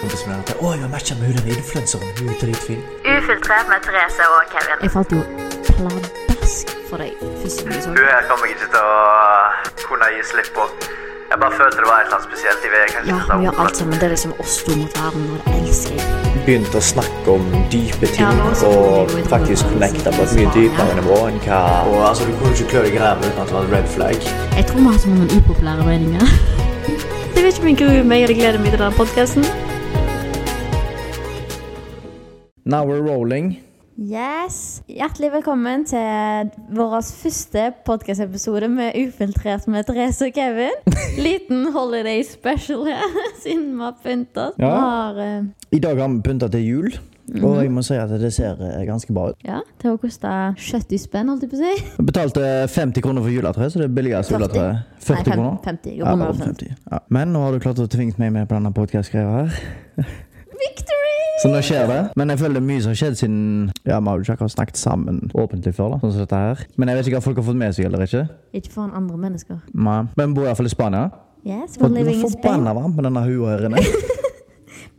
kompis min at å, jeg har matcha med hun der influenseren. Hun er dritfin. Ufiltrert med Therese og Kevin. Jeg falt jo pladask for deg første gang jeg så sånn. Du den. her kommer jeg ikke til å eh, kunne gi slipp på. Jeg bare følte det var et eller annet spesielt i VG. Ja, vi gjør alt sammen. Det er liksom oss to mot verden, og det elsker jeg. Begynte å snakke om dype ting Ja, nå så kommer og vi jo i faktisk den connecta på et sparen, mye dypere ja. nivå enn hva Og altså, Du kunne ikke klø deg i ræva uten at det var en red flag. Jeg tror vi har så mange upopulære meninger. Jeg vet ikke om jeg gruer meg eller gleder meg til denne podkasten. Now we're rolling. Yes! Hjertelig velkommen til vår første podkastepisode med Ufiltrert med Therese og Kevin. Liten holiday special her, siden vi har pyntet oss. Vi Ja. har eh, I dag har vi pynta til jul, og Mhm. jeg må si at det ser eh, ganske bra ut. ja, til å koste 70 spenn, holdt jeg på å si. Jeg betalte 50 kroner for juletre, så det er billigere 40. juletre. 40 Nei, fem- kroner? 50. Ja, det var 50. Ja. Men nå har du klart å tvinge meg med på denne podkast-greia her. Victory! Så nå skjer det. Men jeg føler det er mye som har skjedd siden Ja, vi har jo ikke akkurat snakket sammen åpentlig før. da, sånn som dette her. Men jeg vet ikke hva folk har fått med seg eller ikke. Ikke foran andre mennesker. Nei. Men vi bor iallfall i Spania. Yes, Og we're det living var in Spain. Forbanna varmt med denne hua her inne.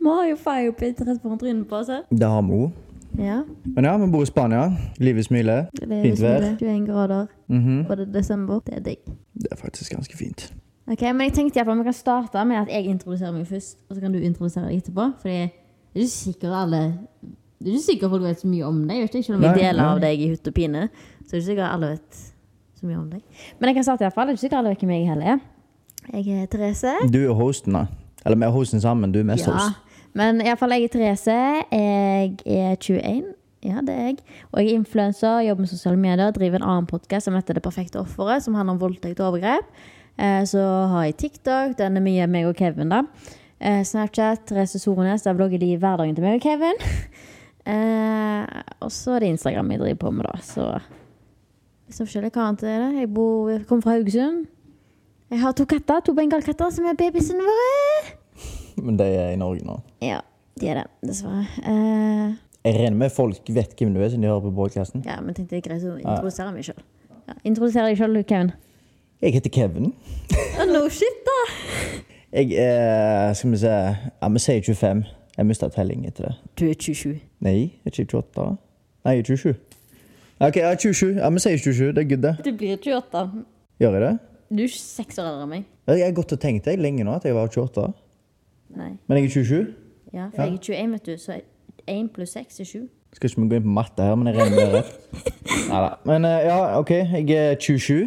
Vi har jo firepit rett foran trynet på oss her. Det har vi òg. Ja, Men ja, vi bor i Spania. Livet smiler. det er Fint liksom vær. det. 21 grader, Mhm. og det er desember. Det er digg. Det er faktisk ganske fint. Ok, men jeg tenkte i hvert fall Vi kan starte med at jeg introduserer meg først, og så kan du introdusere deg etterpå. Fordi det er ikke sikkert alle Det er ikke sikkert folk vet så mye om deg. Vet du? Selv om Nei, vi deler nei. av deg i hutt og pine, så er det ikke sikkert alle vet så mye om deg. Men jeg kan starte i hvert fall. Det er ikke sikkert alle vet hvem jeg heller er. Jeg er Therese. Du er hosten, da. Eller vi er hosten sammen. Du er mest Ja, host. men i hvert fall jeg er Therese. Jeg er 21. Ja, det er jeg. Og jeg er influenser, jobber med sosiale medier, driver en annen podkast som heter Det perfekte offeret, som handler om voldtekt og overgrep. Eh, Så har jeg TikTok, den er mye meg og Kevin, da. Eh, Snapchat, Therese Sorenes, der vlogger de hverdagen til meg og Kevin. Eh, Og så er det Instagram jeg driver på med, da. Så litt sånn forskjellig. Hva annet er det? Jeg, bor, jeg kommer fra Haugesund. Jeg har to katter, to bengalkatter, som er babyene våre. Men de er i Norge nå. Ja, de er det, dessverre. Eh, Jeg regner med folk vet hvem du er, siden de hører på podkasten. ja, men tenkte jeg greit å introdusere meg sjøl. Ja, introdusere deg sjøl, Kevin. Jeg heter Kevin. Oh, no shit, da! Jeg er Skal vi se Ja, vi sier 25. Jeg mista telling etter det. Du er 27. Nei, er ikke jeg 28? Nei, jeg er 27. OK, ja, 27. Ja, vi sier 27. Det er good, det. Du blir 28. Gjør jeg det? Du er 26 år eldre enn meg. Jeg har gått og tenkt det lenge nå, at jeg var 28. Nei. Men jeg er 27. Ja, for jeg er 21, vet du, så 1 pluss 6 er 7. Skal ikke vi gå inn på matte her, men jeg regner med det er rett. Neida. Men eh, ja, OK. Jeg er 27.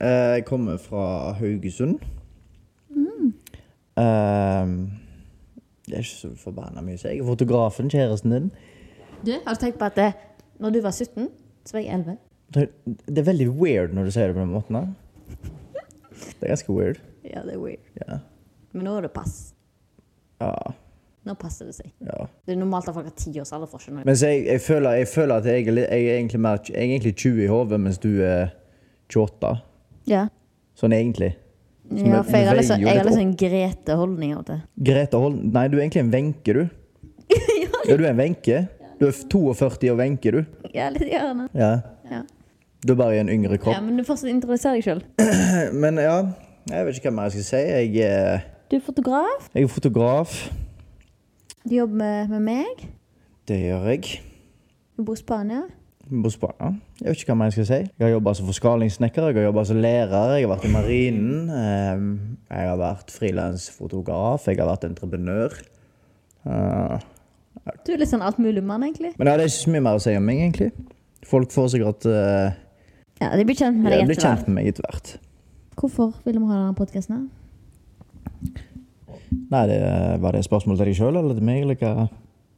Eh, Jeg kommer fra Haugesund. Eh, det er ikke så forbanna mye å si. Jeg er fotografen, kjæresten din. Du, har du tenkt på at eh, når du var 17, så var jeg 11? Det det er veldig weird når du sier det på den måten. her. Det er ganske weird. Ja, det er weird. Ja. Men nå er det pass. ja, Nå passer det seg. ja. Det er normalt at folk har 10 års alder for å skjønne det. Men så jeg, jeg, føler, jeg føler at jeg, er litt- jeg, er egentlig mer, jeg er egentlig 20 i hodet, mens du er 28. Ja. Sånn egentlig. Så vi- ja for jeg har vi liksom, veier jo jeg har litt liksom en Grete-holdning av og til. Grete Holm Nei, du er egentlig en Wenche, du. Ja, du er en Wenche. Du er 42 og Wenche, du. Ja, litt gjerne. Ja. Ja. Du er bare i en yngre Ja, kropp. men du fortsatt introduserer deg sjøl. Men ja, jeg vet ikke hva mer jeg skal si. Jeg, er- Du er fotograf. jeg er fotograf. Du jobber med, med meg. Det gjør jeg. Du bor i Spania. På Spania. Jeg vet ikke hva mer jeg skal si. Jeg har jobba som forskalingssnekker, jeg har jobbet som lærer, jeg har vært i marinen. eh, Jeg har vært frilansfotograf, jeg har vært entreprenør. Eh, Du er litt sånn altmuligmann, egentlig. Men ja, det er ikke så mye mer å si om meg, egentlig. Folk får sikkert eh, Ja, De blir kjent med ja, deg bli etter hvert. kjent med meg etter hvert. Hvorfor vil vi ha denne podkasten? Nei, det, var det et spørsmål til deg sjøl eller til meg? Eller hva?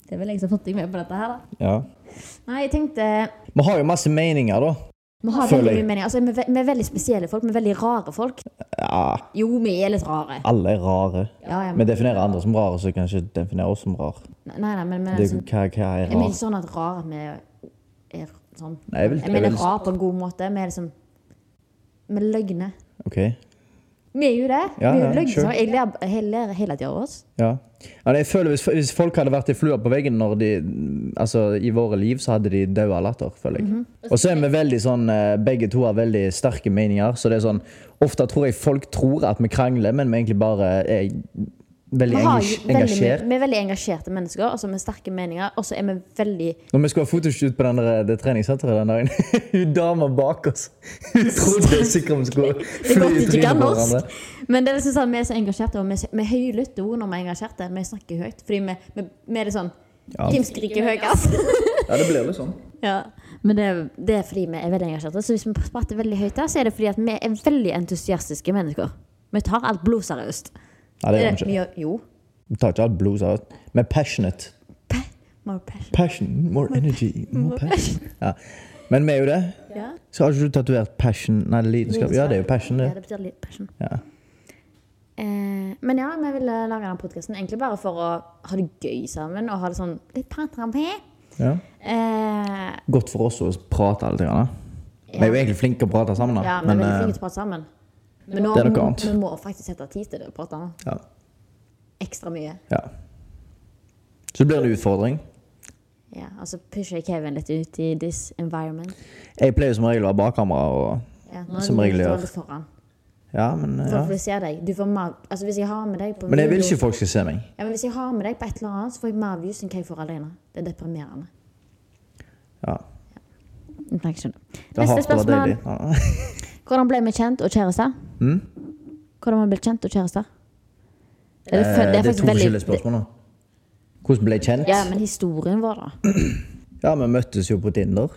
Det er vel jeg som har fått deg med på dette her, da. Ja. Nei, jeg tenkte Vi har jo masse meninger, da. Vi har Føler veldig jeg. mye mening. Altså, vi, er ve- vi er veldig spesielle folk. Vi er veldig rare folk. Ja, Jo, vi er litt rare. alle er rare. Ja, ja, Vi definerer andre som rare, så vi kan ikke definere oss som rare. Nei, nei, men, men Det, altså, hva, hva er jeg mener rar? ikke sånn at rar at vi er- er sånn. Nei, jeg vil- jeg mener jeg vil- rar på en god måte. Vi er liksom Vi er løgne. OK. Vi er jo det. Ja, vi er ja, jo løgne. sure. Jeg ler, jeg ler hele tida av oss. Ja. Ja, jeg føler hvis, hvis folk hadde vært i flua på veggen når de, altså, i våre liv, så hadde de daua av latter, føler jeg. Mhm. Og så er vi veldig sånn eh, Begge to har veldig sterke meninger, så det er sånn Ofte tror jeg folk tror at vi krangler, men vi egentlig bare er Veldig Vi, har jo engasj- veldig, engasjert. mye- vi er veldig engasjerte mennesker, altså med sterke meninger. Og så er vi veldig Når vi skulle ha fotoshoot på den der, eh, det treningssenteret den dagen Hun dama bak oss Hun trodde sikkert vi skulle Det er fly i godt de ikke trynet kan på hverandre. norsk. Men det er liksom sånn, vi er så engasjerte, og vi, vi høylytter også når vi er engasjerte. Vi snakker høyt. Fordi vi, vi, vi er det sånn Ja. Kim skriker altså. høyest. Ja, det blir litt sånn. ja. Men det, er- det er fordi vi er veldig engasjerte. Så hvis vi prater veldig høyt, her, så er det fordi at vi er veldig entusiastiske mennesker. Vi tar alt blodseriøst. Nei, det gjør vi Eh, vi ikke. gjør- Jo. Vi tar ikke alt blod seriøst. Vi er passionate. Pa- More passion. Passion, more energy, more passion. Ja. Men vi er jo det. Ja. Så har ikke du tatovert passion Nei, lidenskap. Ja, det er jo passion, Ja, det. det betyr litt passion. Ja. Eh, men ja, vi ville lage den podkasten egentlig bare for å ha det gøy sammen og ha det sånn litt patrampe. Ja. Eh, Godt for oss å prate litt. Grann, da. Vi er jo egentlig flinke til å prate sammen, da. Ja, men, men, vi er veldig flinke eh, til å prate sammen. Men nå, Det er noe annet. vi må faktisk sette tid til det å prate nå. ja. ekstra mye. ja. Så blir det en utfordring. Ja, altså pusher jeg Kevin litt ut i this environment. Jeg pleier som regel å være bak kamera og Ja, nå er Som du regel litt gjør. dårlig Foran. Ja, men eh, ja. Folk vil se deg. Du får mer, altså hvis jeg har med deg på Men jeg vil video- ikke folk skal se meg. Ja, men hvis jeg har med deg på et eller annet, så får jeg mer views enn hva jeg får alene. Det er deprimerende. Ja. Nei, jeg skjønner. Det har Neste vært spørsmål. deilig. Ja. Hvordan ble vi kjent og kjærester? Mm? Hvordan ble vi kjent og kjærester? Det er, det Eh, Det er faktisk to veldig- forskjellige spørsmål nå. Hvordan ble jeg kjent? Ja, men historien vår, da. Ja, vi møttes jo på Tinder.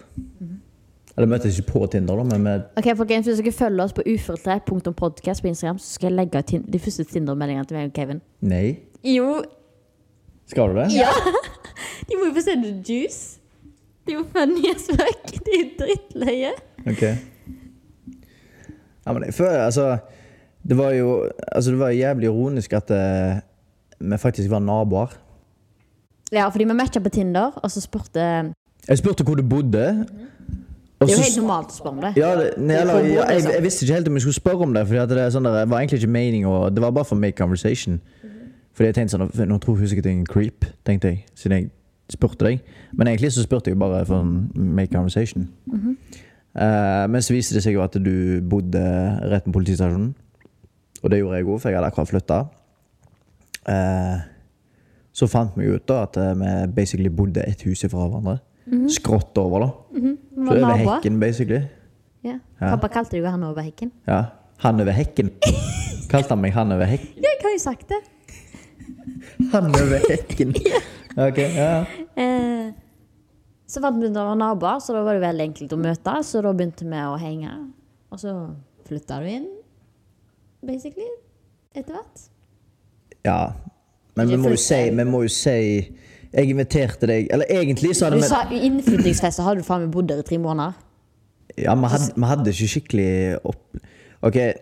Eller møttes ikke på Tinder, da, men vi Ok, folkens, Hvis dere følger oss på ufiltrert.podkast på Instagram, så skal jeg legge ut tin- de første Tinder-meldingene til meg og Kevin. Nei. Jo, Skal du det? Ja! De må jo få se The Juice. Det er jo funny as fuck. Det er jo drittløye. Ok. Ja, men jeg føler, altså Det var jo altså, det var jævlig ironisk at eh, vi faktisk var naboer. Ja, fordi vi matcha på Tinder, og så spurte Det Jeg spurte hvor du bodde. Og er jo så helt normalt å spørre om det. Ja, det, nei, eller, Hvor bor ja, du, jeg, liksom? jeg visste ikke helt om jeg skulle spørre om det. Fordi at det, er sånn der, det var egentlig ikke mening å Det var bare for make conversation. Mhm. Fordi jeg tenkte sånn Nå tror hun sikkert jeg er en creep, tenkte jeg. Siden jeg spurte deg. Men egentlig så spurte jeg bare for en make conversation. Mhm. Eh, men så viste det seg jo at du bodde rett ved politistasjonen. Og det gjorde jeg òg, for jeg hadde akkurat flytta. så fant vi ut da at eh, vi basically bodde et hus ifra hverandre. Skrått over, da. Vi Så Mhm. var over naboer. hekken, basically. Ja. Pappa kalte jo han over hekken. Ja. Han over hekken. Kalte han meg han over hekken? Ja, jeg har jo sagt det. Han over hekken. Ok, ja. ja. Eh, så fant vi ut at vi var naboer, så da var det veldig enkelt å møte. Så da begynte vi å henge. Og så flytta du inn, basically, etter hvert. ja. Men vi Ikke må jo fullt si, vi må jo si Jeg inviterte deg Eller egentlig så Du hadde vi sa i innflyttingsfest, så hadde du faen meg bodd der i tre måneder. Ja, vi hadde, vi hadde ikke skikkelig opp... Ok. Det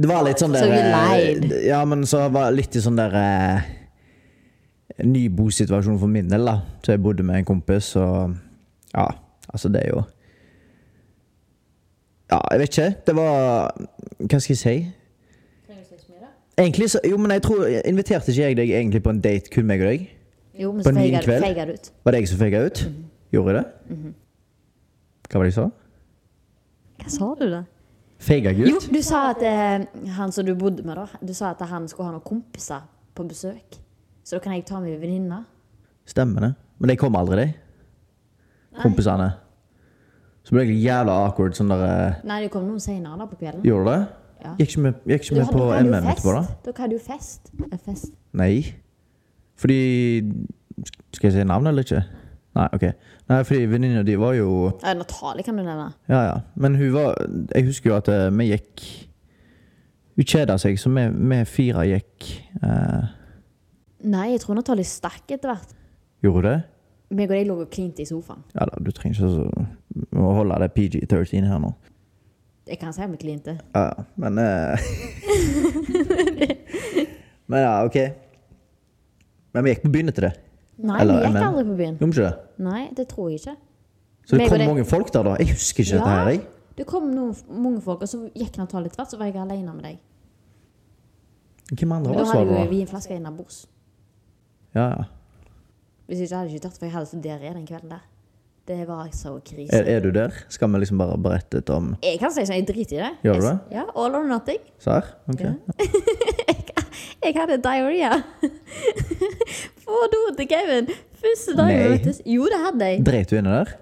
det var litt sånn So der you eh, lied. d- Ja, men så var det litt i sånn der eh, Ny bosituasjon for min del, da. Så jeg bodde med en kompis, og Ja, altså, det er jo Ja, jeg vet ikke. Det var Hva skal jeg si? Egentlig så Jo, men jeg tror Inviterte ikke jeg deg egentlig på en date, kun meg og deg? Jo, men På en så liten feiga kveld? feiga det ut. Var det jeg som fega ut? Mhm. Gjorde jeg det? Hva var det jeg sa? Hva sa du da? Fega ut? Jo, du sa at eh, han som du bodde med, da Du sa at han skulle ha noen kompiser på besøk. Så da kan jeg ta med venninna. Stemmer det. Men de kom aldri, de. Kompisene. Så ble jeg jævla awkward sånn der eh, Nei, det kom noen senere da på kvelden. Gjorde du det? Ja. Gikk ikke med, gikk ikke med på dere MM etterpå, da? fest. Dere hadde jo fest. En fest. Nei. Fordi Skal jeg si navnet eller ikke? Nei, OK. Nei, fordi venninna di var jo Ja, Natalie kan du nevne. Ja, ja. Men hun var Jeg husker jo at eh, vi gikk Hun kjeda seg, så vi, vi fire gikk eh, Nei, jeg tror Natalie stakk etter hvert. Gjorde hun det? Meg og deg lå og klinte i sofaen. Ja da, du trenger ikke å- å holde det PG-13 her nå. Jeg kan si at vi klinte. Ja, ja, men eh, Men ja, OK. Men vi gikk på byen etter det. Nei, Eller vi gikk MM. aldri på byen. Gjorde vi ikke det? Nei, det tror jeg ikke. Så det Meg og kom deg. mange folk der, da? Jeg husker ikke dette her, jeg. Det kom noen, mange folk, og så gikk Natalie etter hvert, så var jeg alene med deg. Hvem andre Men da var det? hadde jo var der? vi en flaske innabords. Ja, ja. Hvis ikke hadde jeg ikke tatt, for jeg hadde så diaré den kvelden der. Det var så krise. Er, er du der? Skal vi liksom bare berette litt om Jeg kan si sånn, jeg driter i det. Gjør du Jeg- Ja, all or nothing. Serr? Ok. Ja. jeg hadde diaré. På do til Kevin. Første dagen vi Nei. møttes. Jo, det hadde jeg. Dreit du inni der?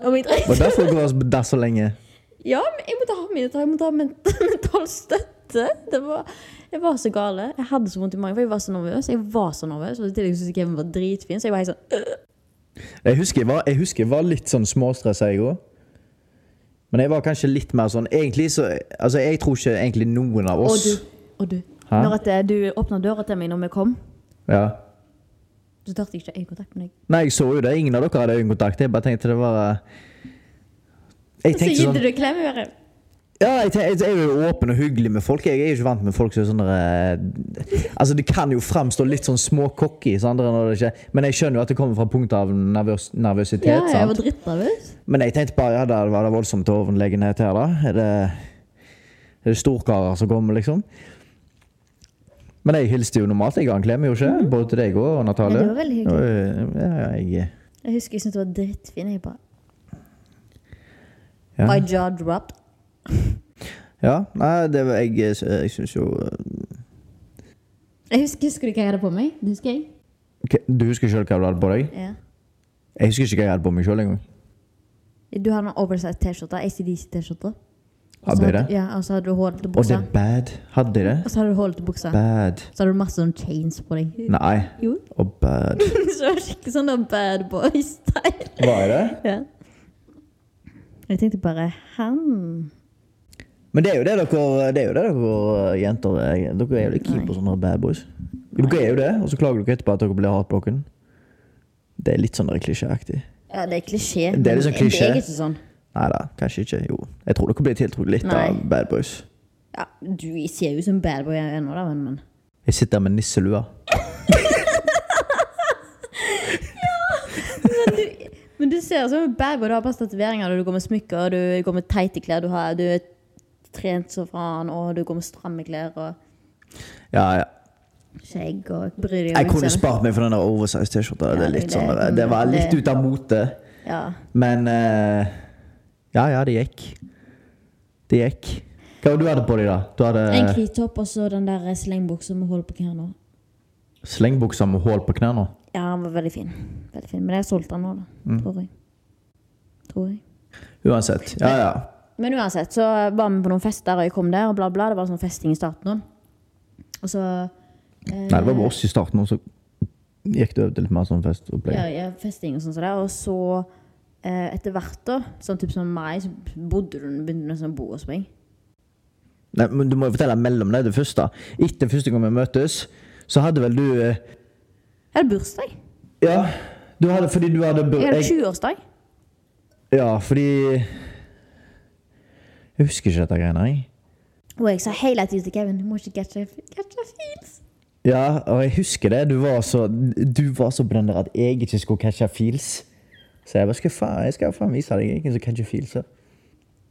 Om jeg dreit. Var det derfor du var på dass så lenge? Ja, men jeg måtte ha mine tak. Jeg måtte ha ment mental støtte. Det var, jeg var så gale. Jeg hadde så vondt i magen, for jeg var så nervøs. Jeg var så nervøs, Og i tillegg syntes jeg Kevin var dritfin, så jeg var helt sånn øh. Jeg husker jeg var, jeg husker jeg var litt sånn småstressa, jeg òg. Men jeg var kanskje litt mer sånn Egentlig så Altså, jeg tror ikke egentlig noen av Og oss du. Og du. Hæ? Når at eh, du åpna døra til meg når vi kom, Ja. så tørte jeg ikke øyekontakt med deg. Nei, jeg så jo det. Ingen av dere hadde øyekontakt. Jeg bare tenkte det var eh, Jeg Så tenkte gitte sånn du en klem i øret. Ja, jeg, tenk- jeg, jeg er jo åpen og hyggelig med folk. Jeg er jo ikke vant med folk som er sånn der, eh, Altså, det kan jo framstå litt sånn småcocky, sant, når det ikke- men jeg skjønner jo at det kommer fra punktet av nervøs, nervøsitet. Ja, jeg sant? var drittnervøs. Men jeg tenkte bare ja, det var det voldsomt overlegenhet her, da. Er det, er det storkarer som kommer, liksom? Men jeg hilste jo normalt. Jeg ga en klem, gjorde jeg ikke? Både til deg og Natalie. Mm. Ja, det var veldig hyggelig. Og, eh, Ja, ja, jeg, Jeg husker jeg syntes det var drittfin. Jeg bare Ja. My jaw dropped. ja. Nei, det var Jeg, jeg, jeg syns jo eh, Jeg husker, husker du hva jeg hadde på meg? Det husker jeg. K- Du husker sjøl hva du hadde på deg? Ja. Jeg husker ikke hva jeg hadde på meg sjøl engang. Du hadde en oversized T-skjorte. ACDC-T-skjorte. Hadde jeg det? Ja, Og så hadde du hårete Og det bukser. er bad. Hadde jeg det? Og så hadde du hull til buksa. Bad. Så hadde du masse sånn chains på deg. Nei. Jo. Og bad. så var det skikkelig sånn der bad boy-style. Var jeg det? Ja. Jeg tenkte bare Han Men det er jo det dere, det er jo det dere jenter er. Dere er jo litt keen på sånne bad boys. Jo, Dere er jo det, og så klager dere etterpå at dere blir heartbroken. Det er litt sånn der klisjéaktig. Ja, det er klisjé. Det er litt sånn men klisjé. Jeg er ikke sånn. Nei da, kanskje ikke. Jo. Jeg tror dere blir tiltrukket litt Nei. av bad boys. Ja, du ser jo ut som bad boy ennå, da, men, men. Jeg sitter med nisselua. Men du ser ut som en bad boy. Du har masse tatoveringer, og du går med smykker, og du går med teite klær. Du, har, du er trent så faen, og du går med stramme klær og Ja, ja. skjegg og bryr deg Jeg kunne utseendet. spart meg for den der oversized T-skjorta. Det, er litt det- sånn, der- det var litt det- ut av mote. Ja. Men eh, Ja, ja, det gikk. Det gikk. Hva var det du hadde på deg, da? Du En hadde hvit topp og så den der slengbuksa med hull på knærne. slengbuksa med hull på knærne? Ja, han var veldig fin. Veldig fin. Men jeg har solgt den nå, da. Mm. Tror jeg. Tror jeg. Uansett. Ja, ja. Men uansett, så var vi på noen fester, og jeg kom der, og bla, bla. Det var sånn festing i starten. da. Og så Nei, det var bare oss i starten, og så gikk det over til litt mer sånn ja, festopplegg. ja, festing og sånn som det. Og så eh, etter hvert, da, sånn typ som mai, så bodde du, begynte du nesten å bo hos meg. Nei, men du må jo fortelle mellom det, det første. Etter første gang vi møtes, så hadde vel du eh, Jeg hadde bursdag. Ja, du hadde fordi du hadde bur- Jeg hadde jeg- 20-årsdag. Ja, fordi Jeg husker ikke dette greiene, jeg. Og jeg sa hele tiden til Kevin du må ikke catche, catche feels. Ja, og jeg husker det. Du var så, du var så på den der at jeg ikke skulle catche feels. Så jeg bare skal faen, jeg skal faen vise deg ingen som catcher feels. her."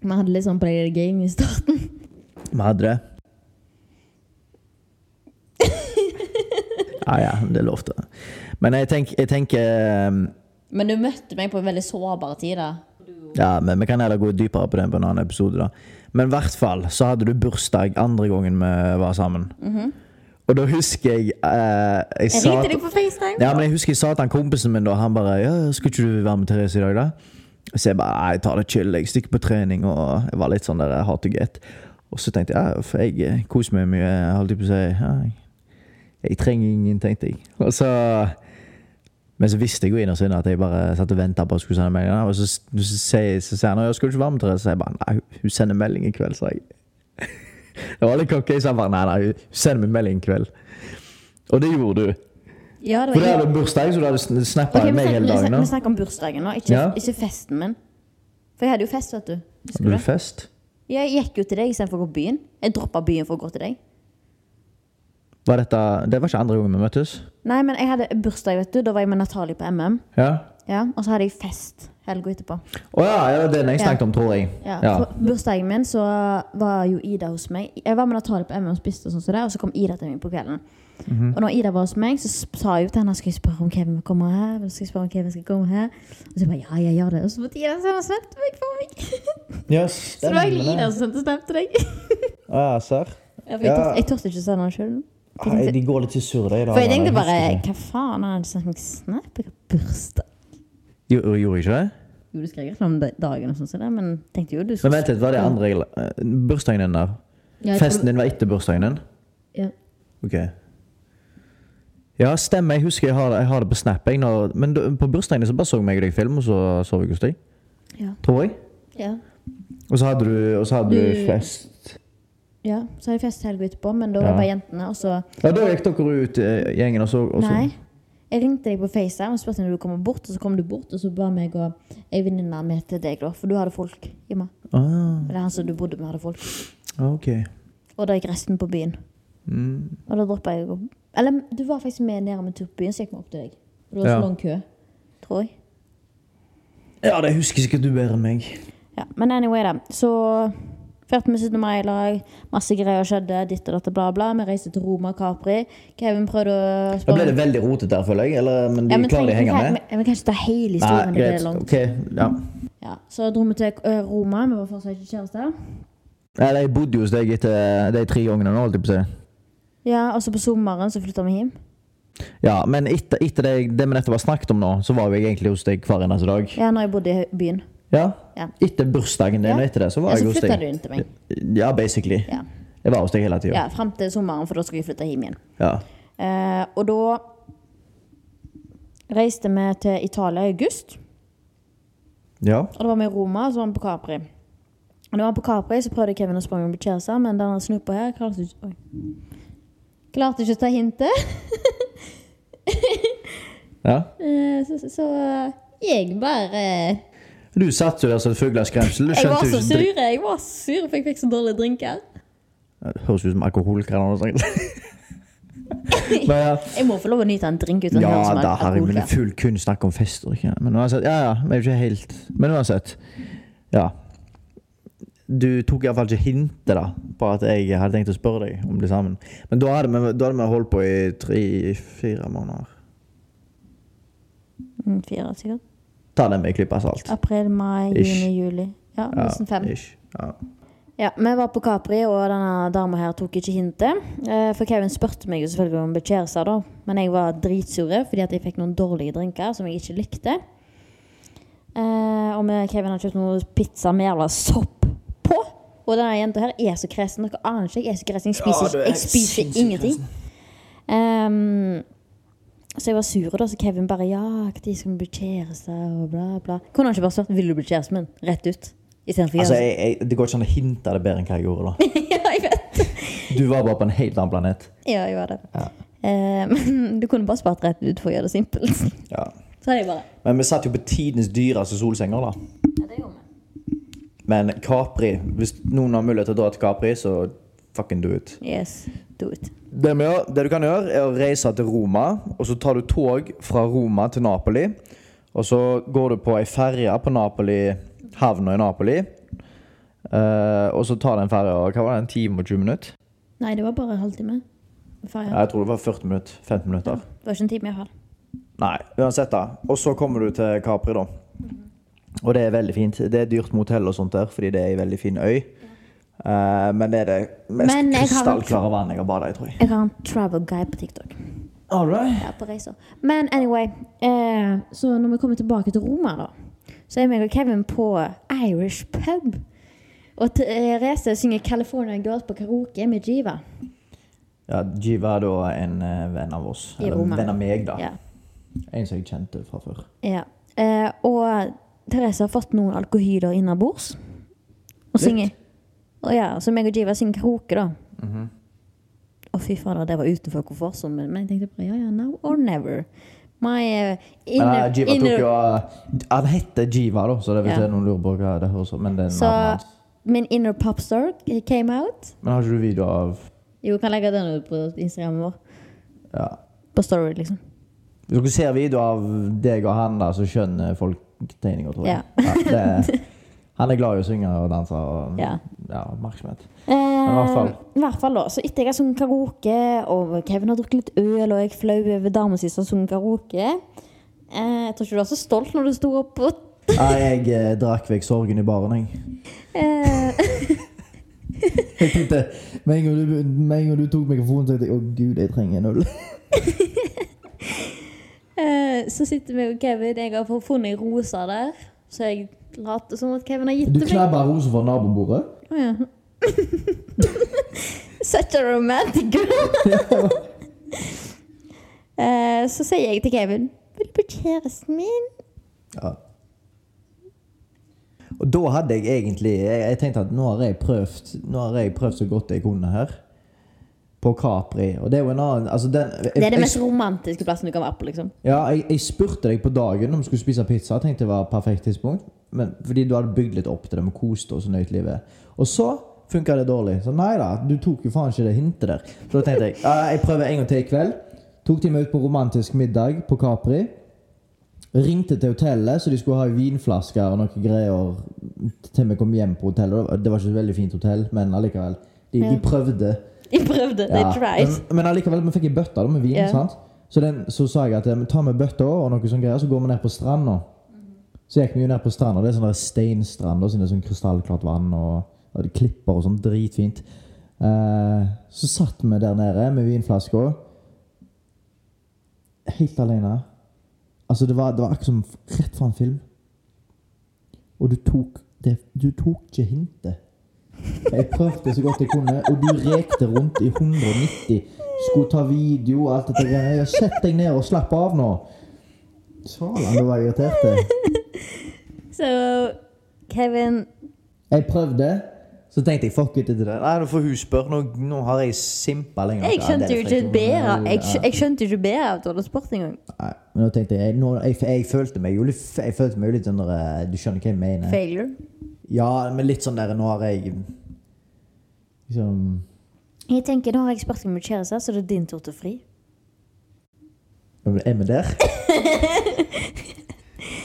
Vi hadde litt sånn player game i starten. Vi hadde det. Ja, ja, det er lov til. Men jeg, tenk, jeg tenker um, Men du møtte meg på en veldig sårbar tid, da. Ja, men vi kan heller gå dypere på den på en annen episode, da. Men i hvert fall så hadde du bursdag andre gangen vi var sammen. Og da husker jeg eh, Jeg Mhm. Jeg sa ringte deg på FaceTime. Ja, men jeg husker jeg sa til han kompisen min da, han bare ja, 'Skulle ikke du være med Therese i dag, da?' Så jeg bare 'Nei, jeg tar det chill. Jeg stikker på trening.' Og jeg var litt sånn der hard to get. Og så tenkte jeg ja, for jeg eh, koser meg mye. Jeg holdt på å si ja, jeg, jeg trenger ingen, tenkte jeg. Og så men så visste jeg jo innerst inne at jeg bare satt og venta på at hun skulle sende melding. Og så s- så sier så sier han «Å, 'Skal du ikke være med Therese?' Så jeg bare 'Nei, hun sender melding i kveld', sa jeg. Det var litt cocky, så han bare 'Nei, nei, hun sender meg melding i kveld'. Og det gjorde du. Ja, det For var det hadde bursdag, så du hadde sn- snappa Ok, vi meg snakker- hele vi dagen. snakker- Vi da. snakker om bursdagen nå, ikke, Ja. ikke festen min. For jeg hadde jo fest, vet du. Husker Hadde du du det? fest? Jeg gikk jo til deg istedenfor å gå på byen. Jeg droppa byen for å gå til deg. Var dette, det var ikke andre gangen vi møttes? Nei, men jeg hadde bursdag, vet du. Da var jeg med Natalie på MM. Ja. Ja, og så hadde jeg fest helga etterpå. Å ja, ja, det er den jeg Ja. snakket om, tror jeg. Ja, Ja. For bursdagen min så var jo Ida hos meg. Jeg var med Natalie på MM og spiste, og sånn som det, og så kom Ida til meg på kvelden. Mhm. Og når Ida var hos meg, så sp- sa jeg jo til henne skal jeg spørre om Kevin kommer her. Skal jeg spørre om Kevin skal komme her? Og så bare ja, jeg gjør det. Og så måtte Ida sende snap til meg for meg. Så det var egentlig Ida som sendte snap til deg. Ja, serr. Ja, for jeg, tør, jeg tørte ikke å sende den sjøl. Nei, de går litt til surre i dag. For jeg tenkte eller? bare Husker ikke. Hva faen, har han sendt meg snap? Jeg har bursdag. Jo, Gjorde jeg ikke det? Jo, du skrev ikke noe om da- dagen, og sånn, som det, men tenkte jo du Men vent litt, hva er det andre regler? Eh, Bursdagen din der. Ja, jeg tror- Festen din var etter bursdagen din? Ja. Ok. Ja, stemmer. Jeg husker jeg har det, jeg har det på Snap. Jeg, når, men du, på bursdagen din så bare så meg og deg film, og så sov jeg hos deg. Ja. Tror jeg. ja. Og så hadde du, og så hadde du fest. Ja, så hadde jeg fest helga etterpå, men da Ja. var jentene, og så Ja, da gikk dere ut, eh, gjengen, og så, og så Nei. Jeg ringte deg på FaceTime og spurte om du kom bort, og så kom du bort, og så ba meg og ei venninne med til deg, da, for du hadde folk hjemme. Ah, Eller han som du bodde med, hadde folk. ok. Og da gikk resten på byen. Mm. Og da droppa jeg å Eller du var faktisk med nede med tur på byen, så gikk vi opp til deg. Og det var Ja. så lang kø, tror jeg. Ja, det husker sikkert du bedre enn meg. Ja, men anyway, da. Så feirte vi 17. mai i lag. Masse greier skjedde. Ditt og datt og bla, bla. Vi reiste til Roma og Capri. Kevin prøvde å Da ble det veldig rotete der, føler jeg. Eller, men de Ja, men klarer de å trenger- henge vi med? kan- Vi vi kan ikke ta hele Nei, historien. det blir greit. langt. Ok, ja. Ja, så dro vi til ø, Roma. Vi var fortsatt ikke kjærester. Nei, de bodde jo hos deg etter de tre gangene nå, holdt jeg på å si. Ja, og så på sommeren så flytta vi hjem. Ja, men etter, etter det, det vi nettopp har snakket om nå, så var vi egentlig hos deg hver eneste dag. Ja, når jeg bodde i byen. Ja. Ja. Etter bursdagen din Ja. og etter det, så Ja, var jeg så hos flytta du deg. inn til meg. Ja, basically. Ja. Jeg var hos deg hele tida. ja, Fram til sommeren, for da skulle vi flytte hjem igjen. Ja. Eh, og da reiste vi til Italia i august. ja. Og da var vi i Roma, og så var vi på Capri. Og da vi var på Capri, så prøvde Kevin å springe og bekjære seg, men denne snuppa her klarte ikke, oi. klarte ikke å ta hintet. ja. Eh, så, så, så jeg bare Du satt jo der som et fugleskremsel. Du Jeg var skjønte jo så ikke sur, dri- jeg var så sur, for jeg fikk så dårlige drinker. Det Høres ut som alkoholkraner. og sånt. Men ja. Jeg må få lov å nyte en drink uten å høre Ja som da, herregud, men alkoholkram. full kun snakk om fester. Ikke? Men uansett, ja ja, vi er jo ikke helt Men uansett. Ja. Du tok iallfall ikke hintet da, på at jeg hadde tenkt å spørre deg om det sammen. Men da hadde vi, da hadde vi holdt på i tre-fire måneder. Mm, Fire, sikkert. Ta det med en klype salt. April, mai, Ish. juni, juli. Ja, nesten fem. ish. Ja. Ja, Vi var på Capri, og denne dama her tok ikke hintet. Eh, For Kevin spurte meg jo selvfølgelig om bekjærelser, da. Men jeg var dritsure fordi at jeg fikk noen dårlige drinker som jeg ikke likte. Eh, og vi, Kevin har kjøpt noe pizza med jævla sopp på. Og denne jenta her er så kresen. Dere aner ikke. Jeg er så kresen. Jeg Ja, spiser, du er ikke- jeg spiser sinnssykt ingenting. Ehm, så jeg var sur, da, så Kevin bare Ja, når skal vi bli kjærester? Og bla, bla. Kunne han ikke bare svart 'Vil du bli kjæresten min?' rett ut? Istedenfor Altså, jeg, jeg, det går ikke an å hinte det bedre enn hva jeg gjorde. da. ja, jeg vet. Du var bare på en helt annen planet. Ja, jeg var det. Eh, men du kunne bare spart rett ut for å gjøre det simpelt. Så Ja. hadde jeg bare Men vi satt jo på tidenes dyreste solsenger, da. Ja, det gjorde vi. Men Capri Hvis noen har mulighet til å dra til Capri, så fucking do it. Yes, do it. Det, vi gjør, det du kan gjøre, er å reise til Roma, og så tar du tog fra Roma til Napoli. Og så går du på ei ferje på Napoli, havna i Napoli. Eh, og så tar den ferja hva var det, en time og 20 minutter? Nei, det var bare en halvtime. Ja, Ferja. jeg tror det var 40 minutter. 15 minutter. Det var ikke en time, iallfall. Nei, uansett da. Og så kommer du til Capri, da. Og det er veldig fint. Det er dyrt motell og sånt der, fordi det er ei veldig fin øy. Eh, men det er det mest Men jeg har- krystallklare vannet jeg har bada i, tror jeg. Jeg har en travel guide på TikTok. All right. Ja, på reiser. Men anyway, eh, så når vi kommer tilbake til Roma, da, så er meg og Kevin på Irish pub. Og Therese synger 'California Girls' på karaoke med Jiva. Ja, Jiva er da en eh, venn av oss. I Eller Roma. en venn av meg, da. Ja. En som jeg kjente fra før. Ja. Eh, og Therese har fått noen alkohyler innabords. Og synger. Og ja, så meg og Jiva synger karaoke, da. Mhm. Å, fy fader, det var utenfor komfortsonen min. Men jeg tenkte bare ja, ja, now or never. My eh, inner, Eh, Jiva inner- tok jo eh, Han heter Jiva, da, så det er hvis Ja. det er noen lurer på hva det høres ut men det er Så navnet hans. min inner popstar came out. Men har ikke du video av Jo, jeg kan legge den ut på Instagramen vår. Ja. På story, liksom. Hvis dere ser video av deg og han, da, så skjønner folk tegninga, tror jeg. Ja. det, han er glad i å synge og danse og Ja. ja, oppmerksomhet. Eh, i hvert fall. I hvert fall da. Så etter jeg har sunget karaoke, og Kevin har drukket litt øl, og jeg er flau over damen sin som har sunget karaoke eh, Jeg tror ikke du var så stolt når du sto opp og Nei, jeg eh, drakk vekk sorgen i baren, jeg. eh, Jeg tenkte, Med en gang du, med en gang du tok mikrofonen, tenkte jeg å gud, jeg trenger en øl. Eh, så sitter vi og Kevin. Jeg har funnet rosa der, så jeg later som at Kevin har gitt Du det meg. knabber rosa fra nabobordet. Å, ja. Such a romantic girl. Eh, så sier jeg til Kevin Vil du bli kjæresten min? Ja. Og da hadde jeg egentlig Jeg, jeg tenkte at nå har jeg prøvd Nå har jeg prøvd så godt jeg kunne her. På Capri. Og det er jo en annen altså den, jeg, Det er den jeg- mest romantiske plassen du kan være på, liksom. Ja, jeg, jeg spurte deg på dagen om du skulle spise pizza. Jeg tenkte det var et perfekt tidspunkt. Men, fordi du hadde bygd litt opp til det med koste oss og nøyt livet. Og så funka det dårlig. Så nei da, du tok jo faen ikke det hintet der. Så da tenkte jeg «Ja, jeg prøver en gang til i kveld. Tok de meg ut på romantisk middag på Capri. Ringte til hotellet, så de skulle ha vinflasker og noen greier til vi kom hjem på hotellet. Det var ikke et veldig fint hotell, men allikevel. De, de prøvde. Jeg prøvde. They Ja, tried. Men, men allikevel, vi fikk ei bøtte da, med vin. Ja. sant? Så, den, så sa jeg at eh, ta med bøtta og noe sånt greier, så går vi ned på stranda. Så gikk vi jo ned på stranda. Det er sånn der steinstrand, og så er det sånn krystallklart vann og, og det klipper og sånn. Dritfint. Eh, så satt vi der nede med vinflaska. Helt alene. Altså, det var, det var akkurat som rett fra en film. Og du tok det, Du tok ikke hintet. Jeg prøvde så godt jeg kunne, og du rekte rundt i 190. Skulle ta video og alt dette greiene. Sett deg ned og slapp av nå. Svalan, du var irritert. Mm. Så Kevin Jeg prøvde. Så tenkte jeg fuck it til det. Nei, nå får hun spørre. Nå, nå har jeg simpa lenger. Jeg skjønte jo ikke bedre Jeg, skj- jeg, jeg skjønte jo ikke bedre av Dollar Sport engang. Nei, men nå tenkte jeg, nå, jeg, jeg følte meg jo litt, jeg følte meg jo litt under eh, Du skjønner hva jeg mener? Failure. Ja, men litt sånn der Nå har jeg liksom Jeg tenker, Nå har jeg spurt deg om kjæreste, så det er din tur til å fri. Er vi der?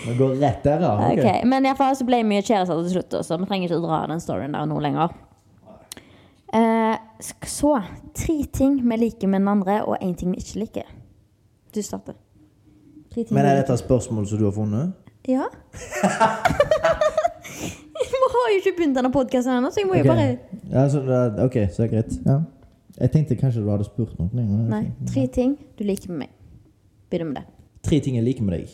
Vi går rett der, ja. Ok, ok. Men iallfall så ble vi jo kjærester til slutt, så vi trenger ikke å dra den storyen der nå lenger. Eh, sk- så tre ting vi liker med den andre, og én ting vi ikke liker. Du starter. Tre ting Men vi er liker. dette spørsmål som du har funnet? Ja. Vi har jo ikke begynt denne podkasten ennå, så jeg må jo Ok. bare ja, så, det- ok, så er det greit. Ja. Jeg tenkte kanskje du hadde spurt noe. men ok. Nei. Tre ting du liker med meg. Begynner med det. Tre ting jeg liker med deg.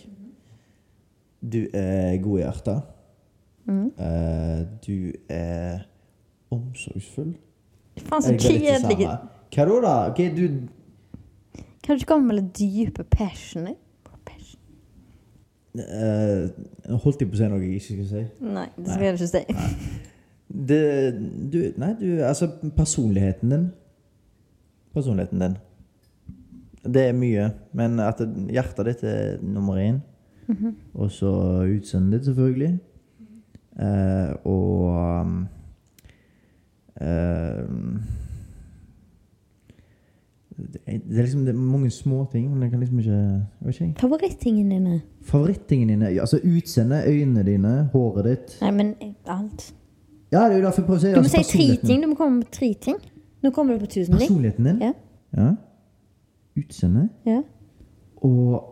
Du er god i hjertet. Mm. Eh, du er omsorgsfull. Faen, så Jeg sånn går litt til kjedelig. samme. Hva da? da? Ok, du Kan du ikke komme med litt dype passion? Passion? eh, Holdt jeg på å si noe jeg ikke skulle si? Nei, det skal jeg ikke si. Det, du, nei, du Altså, personligheten din. Personligheten din. Det er mye, men at det- hjertet ditt er nummer én. Mhm. Og så utseendet ditt, selvfølgelig. Eh, og um, eh, det er det er liksom det er mange små ting, men jeg kan liksom ikke jeg vet ikke, jeg. Favorittingene dine? Favorittingene dine ja, Altså utseendet, øynene dine, håret ditt Nei, men eh, alt. Ja, det er jo derfor jeg prøver å si Du må altså, si tre personligheten. ting. Du må komme med tre ting. Nå kommer du på tusen ting. Personligheten din? Ja. Ja. Utseende Ja. og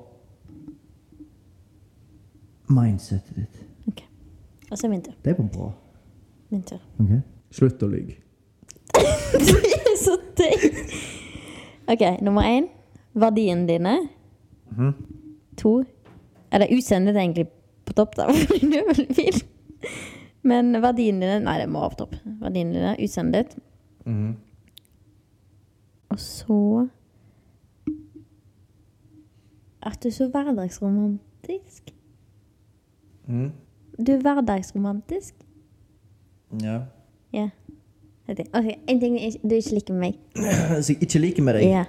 mindsetet ditt. Ok. Og så min tur. Det var bra. Min tur. Ok? Slutt å lyve. Du er så teit! OK, nummer én. Verdiene dine. To. Eller utseendet er egentlig på topp, da. fordi du er veldig fin. Men verdiene dine Nei, det må være på topp. Verdiene dine, utseendet ditt. Og så At du er så hverdagsromantisk. Mm. Du er hverdagsromantisk. Ja. Ja. Det er det. Ok, En ting jeg ikke- du ikke liker med meg. Så jeg ikke liker med deg, Ja.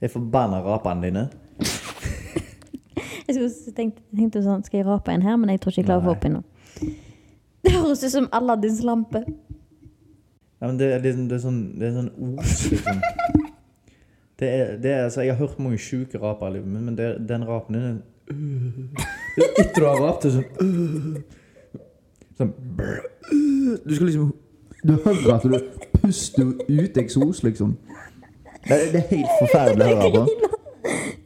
det er forbanna rapene dine. Jeg skulle også tenkt, tenkte sånn, skal jeg rape en her, men jeg tror ikke jeg klarer å få opp en nå. Det høres ut som Aladdins lampe. Ja, men det, er liksom, det er sånn, det er sånn os, liksom. Det er, det er, altså, jeg har hørt mange sjuke raper i livet mitt, men det, er- den rapen din er Etter du har rapt, det er sånn Sånn Du skal liksom Du hører at du puster ut eksos, liksom. Det, er- det er helt forferdelig å høre på.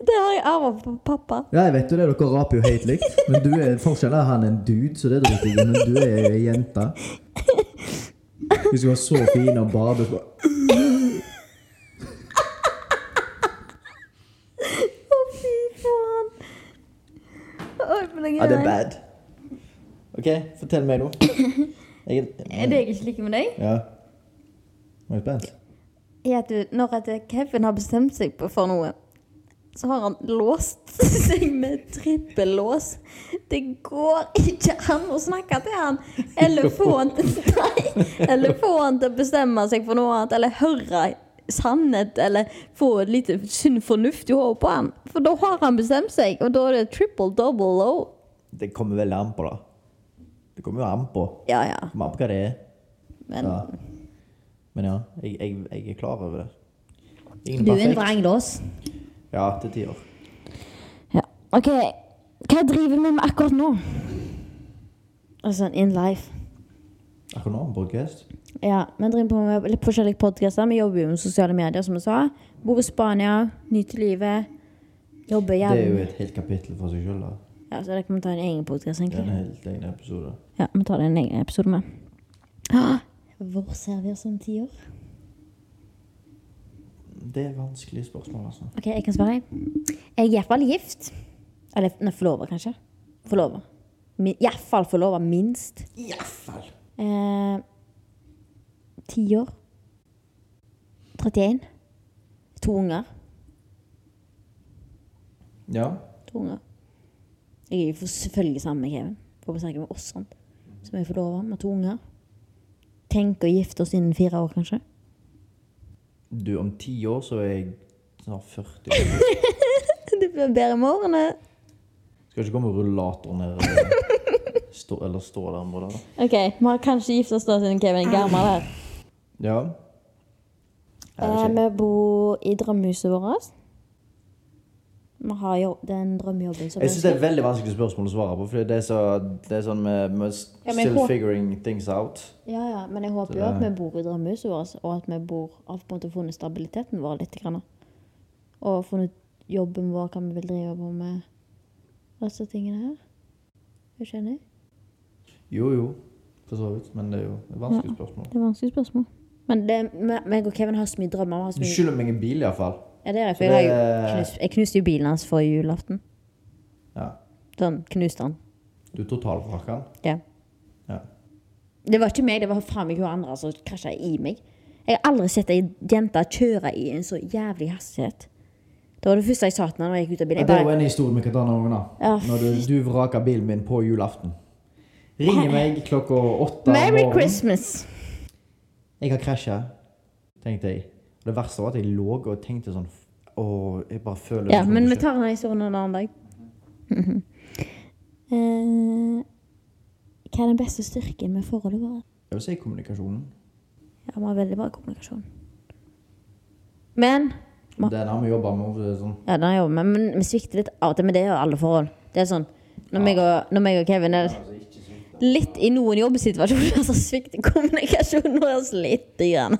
Det har jeg arvet fra pappa. Ja, jeg vet jo det, dere raper jo helt likt. Men du er forskjellen er at han er en dude, så det driter jeg i. Men du er ei jente. Hvis vi var så fine og badet på Fy faen. Oi, men jeg Ja, det er bad. OK, fortell meg nå. Jeg, Er det jeg ikke liker med deg? Ja. Nå er jeg spent. Er at du, når at Kevin har bestemt seg på- for noe, så har han låst seg med trippellås. Det går ikke an å snakke til han! Eller få han til Nei! Eller få han til å bestemme seg for noe annet, eller høre sannhet, eller få et lite sunn fornuft i hodet på han. For da har han bestemt seg, og da er det triple double low. det kommer veldig an på, da. Det kommer jo an på. Ja, ja. Kommer an på hva det er. Men Ja. Men ja, jeg, jeg, jeg er klar over det. Ingen du er en perfekt. vranglås. Ja, til tider. Ja, ok. Hva driver vi med akkurat nå? Altså, in life. Akkurat nå, podcast. Ja, vi driver på med litt forskjellige podcaster. Vi jobber jo med sosiale medier, som vi sa. Bor i Spania, nyter livet. Jobber Det er jo jævlig. et helt kapittel for seg sjøl. Ja, så det kan vi ta en egen podcast, Det er en egentlig. helt egen episode. Ja, vi tar det en egen episode med. Ah, Hvor ser vi oss om ti år? Det er vanskelige spørsmål, altså. Ok, jeg kan svare. Jeg er i hvert fall gift. Eller nei, forlover, kanskje. Forlover. Min, I hvert fall forlover, minst. Iallfall. Eh, 10 år. 31. To unger. Ja. To unger. Jeg er jo for- selvfølgelig sammen med Kevin. For å snakke med oss, sant? Som er forlova med to unger. Tenk å gifte oss innen fire år, kanskje. Du, om ti år så er jeg snart 40 år. Det blir bedre med årene. Skal ikke komme med rullator ned eller stå, eller stå der med det. da. Ok, vi har kanskje gift oss da siden Kevin er gammel her. Ja. Eh, Jeg vet ikke. vi bor i drømmehuset vårt. Vi har jo den drømmejobben som Jeg syns det er et veldig vanskelig spørsmål å svare på, for det er, så, det er sånn med, med Ja, men jeg still håper- figuring things out. Ja, ja, men jeg håper jo at vi bor i drømmehuset vårt, og at vi bor, har på en måte funnet stabiliteten vår litt. Grann. Og funnet jobben vår, hva vi vil drive på med. Disse tingene her. Er du ikke enig? Jo, jo. For så vidt. Men det er jo et vanskelig spørsmål. Det er vanskelig spørsmål. Men det, me- meg og Kevin har så mye drømmer. vi Har så Du mye, skylder meg en bil, iallfall. ja, det er jeg, for jeg, har jo det- knust, jeg knuste jo bilen hans forrige julaften. Ja. Sånn, knuste han. Du totalvraker den. Ja. Ja. Det var ikke meg, det var faen meg hun andre som krasja i meg. Jeg har aldri sett ei jente kjøre i en så jævlig hastighet. Det var det første jeg sa til henne når jeg gikk ut av bilen. Ja, Jeg det er jo bare, en historie vi kan ta noen ganger. Ja, Når du, du vraker bilen min på julaften. Ringer meg klokka åtte om Merry morgenen. Christmas! Jeg har krasja, tenkte jeg. Og det verste var at jeg lå og tenkte sånn Å, jeg bare føler Ja, det men vi skjer. tar den historien en annen dag. Mhm. Eh, hva er den beste styrken med forholdet vårt? Jeg vil si kommunikasjonen. Ja, vi har veldig bra kommunikasjon. Men Ma- Den har vi jobba med. for det er Sånn. Ja, den har jeg jobbet med, men vi svikter litt av og til. Men det gjør alle forhold. Det er sånn, Når meg og, når meg og Kevin er litt i noen jobbsituasjoner, så svikter kommunikasjonen vår lite grann.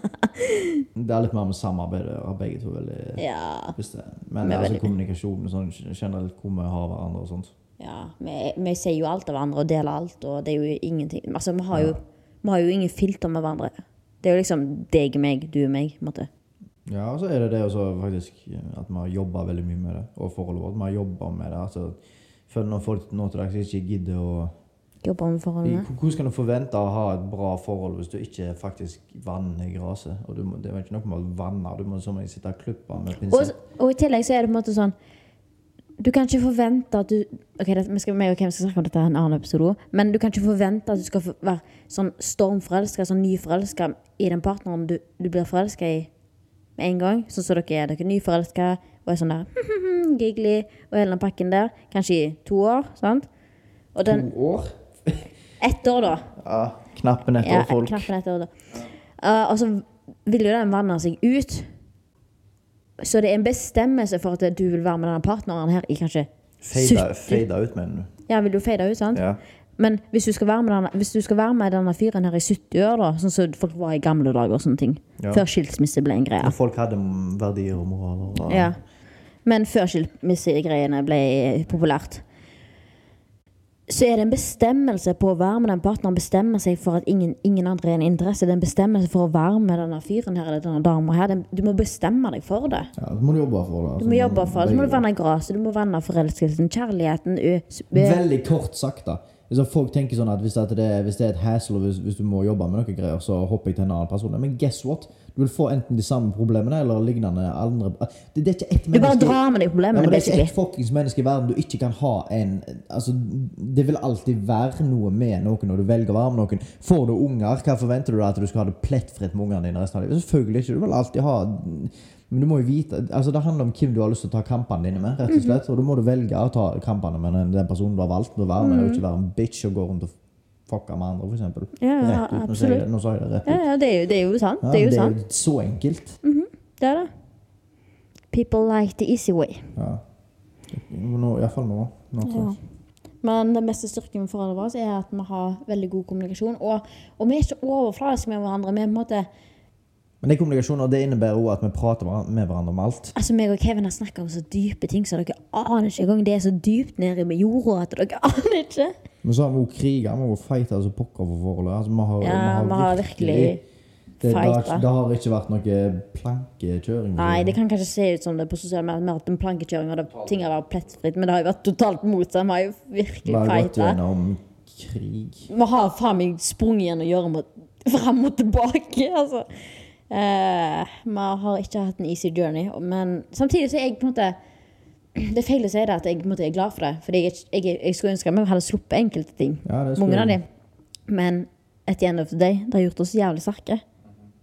Det er litt mer med samarbeidet og begge to. Veldig, Ja. bestemt. Men Vi er altså, veldig- kommunikasjonen sånn, generelt hvor vi har hverandre og sånt. ja vi, vi sier jo alt av hverandre og deler alt, og det er jo ingenting Altså, vi har jo, vi har jo ingen filter med hverandre. Det er jo liksom deg, meg, du, meg. på en måte. Ja, og så er det det også faktisk at vi har jobba veldig mye med det, og forholdet vårt. Vi har jobba med det. Altså, for når folk nå til dags ikke gidder å Jobber med forholdene. Hvordan kan du forvente å ha et bra forhold hvis du ikke faktisk vanner gresset? Og du må, det er ikke noe med å vanne, du må som regel sitte og klippe med Og, pinsett. og i tillegg så er det på en måte sånn Du kan ikke forvente at du Ok, det, vi skal, meg og Kim skal snakke om dette i en annen episode også, Men du kan ikke forvente at du skal få- være sånn stormforelska, sånn nyforelska i den partneren du, du blir forelska i med en gang. Sånn som dere er. Dere er nyforelska og er sånn der giggly og hele den pakken der. Kanskje i to år, sant? Og den År? Ett år, da. Ja, knappen etter Ja, folk. knappen etter da. Eh, og så vil jo den vanne seg ut. Så det er en bestemmelse for at du vil være med denne partneren her i kanskje Fade, 70 fade ut, mener du. Ja, vil du fade ut, sant? Ja. Men hvis du skal være med denne, hvis du skal være med denne fyren her i 70 år, da, sånn som folk var i gamle dager og sånne ting, Ja. før skilsmisse ble en greie Og folk hadde m- verdier og moraler. og- Ja. Men før skilsmissegreiene ble populært. så er det en bestemmelse på å være med den partneren. Bestemmer seg for at ingen, ingen andre er en interesse. Det er en bestemmelse for å være med denne fyren her eller denne dama her. Det- Du må bestemme deg for det. Ja, så må du jobbe for det. altså. Du må jobbe for det. Så må du Begge- vende graset, du må vende forelskelsen, kjærligheten u- s- be- Veldig kort sagt, da. Så folk tenker sånn at hvis, at det, hvis det er et hassle, og hvis, hvis du må jobbe med noen greier, så hopper jeg til en annen person. Men guess what? Du vil få enten de samme problemene eller lignende andre Det, det er ikke ett Du bare menneske- drar med deg Ja, problemene, men det er ikke basically. ett fuckings menneske i verden du ikke kan ha en Altså, Det vil alltid være noe med noen når du velger å være med noen. Får du unger, hva forventer du da at du skal ha det plettfritt med ungene dine resten av livet? Selvfølgelig ikke. Du vil alltid ha Men du må jo vite Altså, Det handler om hvem du har lyst til å ta kampene dine med, rett og slett. Og da må du velge å ta kampene med den, den personen du har valgt å være med, og ikke være en bitch og gå rundt og fucke med andre, f.eks. Ja, ja, rett ut. Nå sa jeg det- Nå sa jeg det rett ut. Ja, ja, det er jo, det er jo sant. Ja, Det er jo det er sant. jo så enkelt. Det er det. People like the easy way. Ja. Nå- i hvert fall nå. nå tror jeg. Men den beste styrken med forholdet vårt er at vi har veldig god kommunikasjon. Og, og vi er ikke overfladiske med hverandre. Vi er på en måte, Men det er kommunikasjon, og det innebærer også at vi prater hver- med hverandre om alt. altså meg og Kevin har snakket om så dype ting så dere aner ikke engang. Det er så dypt nede med jorda at dere aner ikke. Men så har vi også kriger, vi har også fighter altså pokker for forholdet. Altså, vi har, Ja, vi har virkelig det, det, har, fighta. det har ikke vært noe plankekjøring. Nei, det kan kanskje se ut som det på sosiale medier, mer at en plankekjøring og det, ting har vært plettfritt, men det har jo vært totalt motsatt. Vi har jo Vi virkelig har gått fighta. gjennom krig. Vi har faen meg sprunget gjennom gjørma fram og tilbake, altså. Eh, Vi har ikke hatt en easy journey, men samtidig så er jeg på en måte Det er feil å si det at jeg på en måte er glad for det, fordi jeg, er ikke- jeg, jeg skulle ønske at vi hadde sluppet enkelte ting. Ja, det skulle mange av jeg. dem. Men at the end of the day, det har gjort oss jævlig sterke.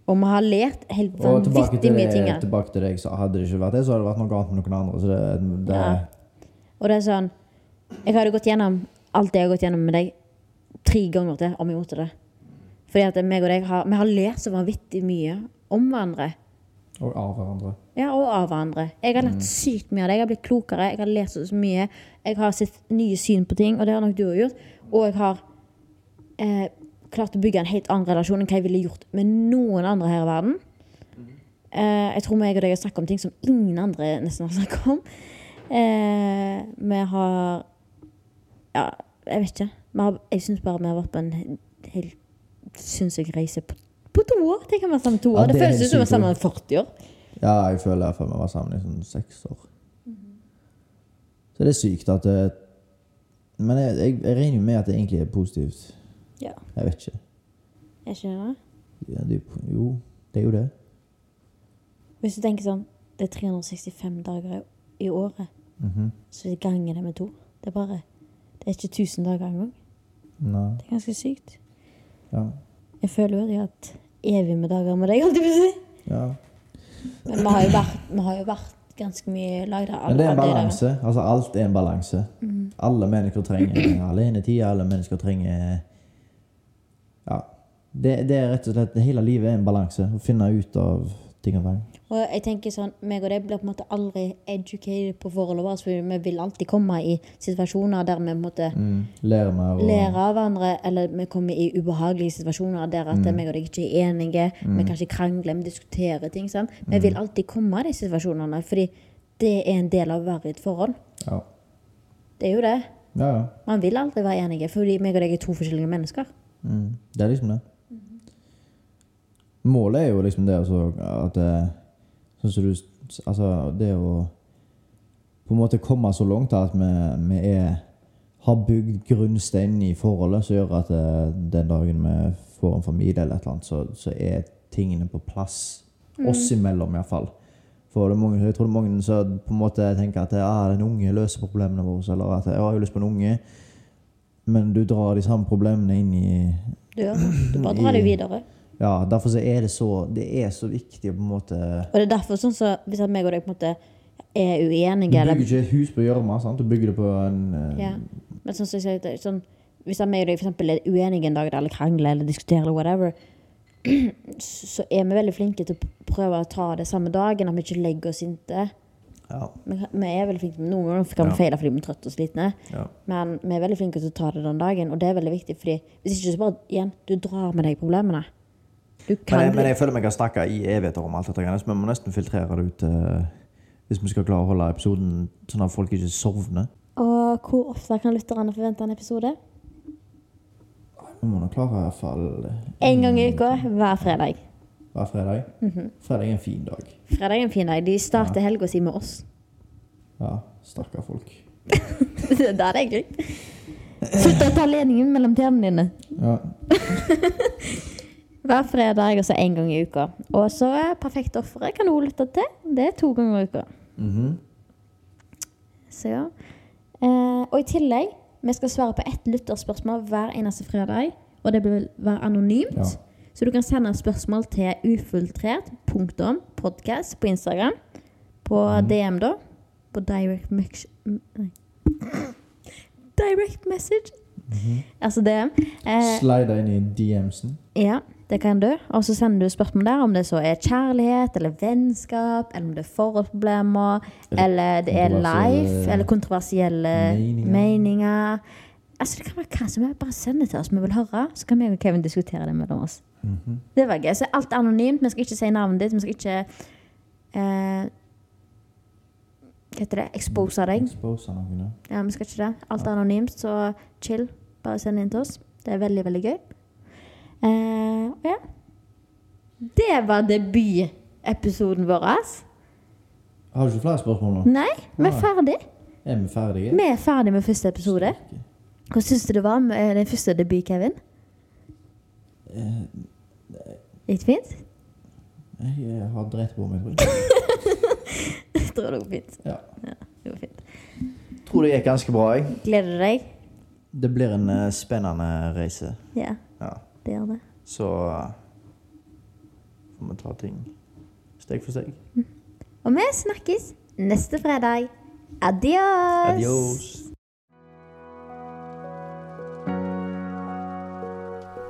Og vi har lært helt Og tilbake vanvittig til, Sånn mye ting. det, her. tilbake til det jeg sa, hadde det ikke vært det, så hadde det vært noe annet med noen andre. Så det, det, Ja. Og det er sånn Jeg hadde gått gjennom alt det jeg har gått gjennom med deg tre ganger til om jeg måtte det. Fordi at meg og deg har, vi har lært så vanvittig mye om hverandre. Og av hverandre. Ja, og av hverandre. Jeg har Mm. lært sykt mye av deg. Jeg har blitt klokere. Jeg har lært så så mye. Jeg har sett nye syn på ting, og det har nok du òg gjort. Og jeg har eh, klart å bygge en helt annen relasjon enn hva jeg ville gjort med noen andre her i verden. Mm. Eh, jeg tror meg og deg har snakket om ting som ingen andre nesten har snakket om. Eh, vi har Ja, jeg vet ikke. Vi har, jeg syns bare vi har vært på en he- helt sinnssyk reise på, på to år. Tenk om vi er sammen i to Ja, år. det, det er føles helt ut som vi sykt. er sammen i 40 år. Ja, jeg føler i hvert fall vi var sammen i sånn seks år. Så det er sykt at det, Men jeg, jeg, jeg regner jo med at det egentlig er positivt. Ja. Jeg vet ikke. Jeg skjønner. Ja, det, jo, det er jo det. Hvis du tenker sånn, det er 365 dager i- i året, Mhm. så ganger det med to. Det er bare, det er ikke 1000 dager engang. Nei. Det er ganske sykt. Ja. Jeg føler jo at jeg har hatt evig med dager med deg, holdt jeg på å si. ja. Men vi har jo vært, vi har jo vært ganske mye i lag der. Men det er en allerede. balanse. Altså, alt er en balanse. Alle mennesker trenger alenetid. Alle mennesker trenger Ja. Det, det er rett og slett Hele livet er en balanse. Å finne ut av ting og tang. Og jeg tenker sånn, meg og deg blir på en måte aldri educated på forholdet vårt, for vi vil alltid komme i situasjoner der vi på en måte Mm. Lære mer og lære av hverandre, eller vi kommer i ubehagelige situasjoner der Mm. at meg og deg ikke er enige, vi kanskje krangler, vi diskuterer ting. Sant? Mm. Vi vil alltid komme i de situasjonene, fordi det er en del av å være i et forhold. Ja. Det er jo det. ja, ja. Man vil aldri være enige, fordi meg og deg er to forskjellige mennesker. Mm. Det er liksom det. Målet er jo liksom det altså, at eh, Sånn som du s- Altså, det å på en måte komme så langt at vi, vi er har bygd grunnsteinen i forholdet som gjør at eh, den dagen vi får en familie, eller et eller annet, så, så er tingene på plass. Oss imellom, iallfall. For det er mange, jeg tror det er mange som på en måte tenker at ah, den unge løser problemene våre, eller at ja, jeg har lyst på en unge, men du drar de samme problemene inn i Du, gjør det. du bare drar det videre. ja, derfor så er det så Det er så viktig å på en måte Og det er derfor sånn så, hvis at meg og deg på en måte er Du uenige, bygger eller ikke et hus på gjørma, sant? Du bygger det på en eh, ja. Men sånn som jeg sier, det er sånn, hvis at meg og deg for eksempel er uenige en dag, eller krangler, eller diskuterer, eller whatever, så er vi veldig flinke til å prøve å ta det samme dagen, at vi ikke legger oss inntil. ja. Vi vi er veldig flinke, Noen ganger kan vi Ja. feile fordi vi er trøtte og slitne, Ja. men vi er veldig flinke til å ta det den dagen. Og det er veldig viktig, fordi hvis ikke så bare igjen, du drar med deg problemene. Du Men, kan jeg, men jeg føler meg har snakka i evigheter om alt dette greiene, så vi må nesten filtrere det ut eh, hvis vi skal klare å holde episoden sånn at folk ikke sovner. Og Og hvor ofte kan lytterne forvente en episode? Vi må nok klare i hvert fall En gang Mm. i uka, hver fredag. hver fredag. Mhm. Fredag er en fin dag. Fredag er en fin dag. De starter helga si med oss. Ja, stakkar folk. det er det egentlig. Slutt å ta ledningen mellom tennene dine. Ja. Hver fredag og så en gang i uka. Og så Perfekt offeret kan du også lytte til. Det er to ganger i uka. Mhm. Så ja. Eh, og i tillegg, vi skal svare på ett lytterspørsmål hver eneste fredag. Og det vil være anonymt. Ja. Så du kan sende spørsmål til ufiltrert.podkast på Instagram. På DM, da. På direct mex... Nei. Direct message. Altså DM. Eh, Slide inn i DM-sen. ja, det kan du. Og så sender du spørsmål der om det så er kjærlighet eller vennskap, eller om det er forholdsproblemer, eller det er life, kontroversielle eller kontroversielle meninger. meninger. Altså, det kan være hva som helst. Bare send det til oss. Vi vil høre, så kan vi og Kevin diskutere det mellom oss. Det var gøy. Så alt er anonymt. Vi skal ikke si navnet ditt. Vi skal ikke eh, Hva heter det? Expose deg. Expose noen. ja. Ja, vi skal ikke det. Alt er anonymt, så chill. Bare send inn til oss. Det er veldig, veldig gøy. Eh, og ja. Det var debutepisoden vår. ass. Har du ikke flere spørsmål nå? Nei, vi er ferdig. Er vi ferdige? Vi er ferdig Mm. med første episode. Hva syns du det var med eh, den første debut, Kevin? Gikk det fint? Jeg eh, har drept på meg, tror jeg. Jeg tror det går fint. Ja. Det går fint. Tror det gikk ganske bra. jeg. Gleder du deg? Det blir en eh, spennende reise. Ja, Ja. det gjør det. Så eh, får vi ta ting steg for steg. Og vi snakkes neste fredag. Adios! Adios.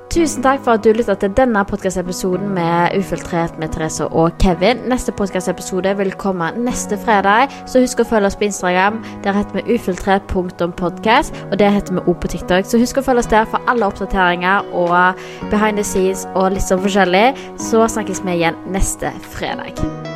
Tusen takk for at du lytta til denne podkastepisoden med Ufiltrert med Therese og Kevin. Neste podkastepisode vil komme neste fredag, så husk å følge oss på Instagram. Der heter vi ufiltrert.podkast, og det heter vi òg på TikTok. Så husk å følge oss der for alle oppdateringer og behind the scenes og litt sånn forskjellig. Så snakkes vi igjen neste fredag.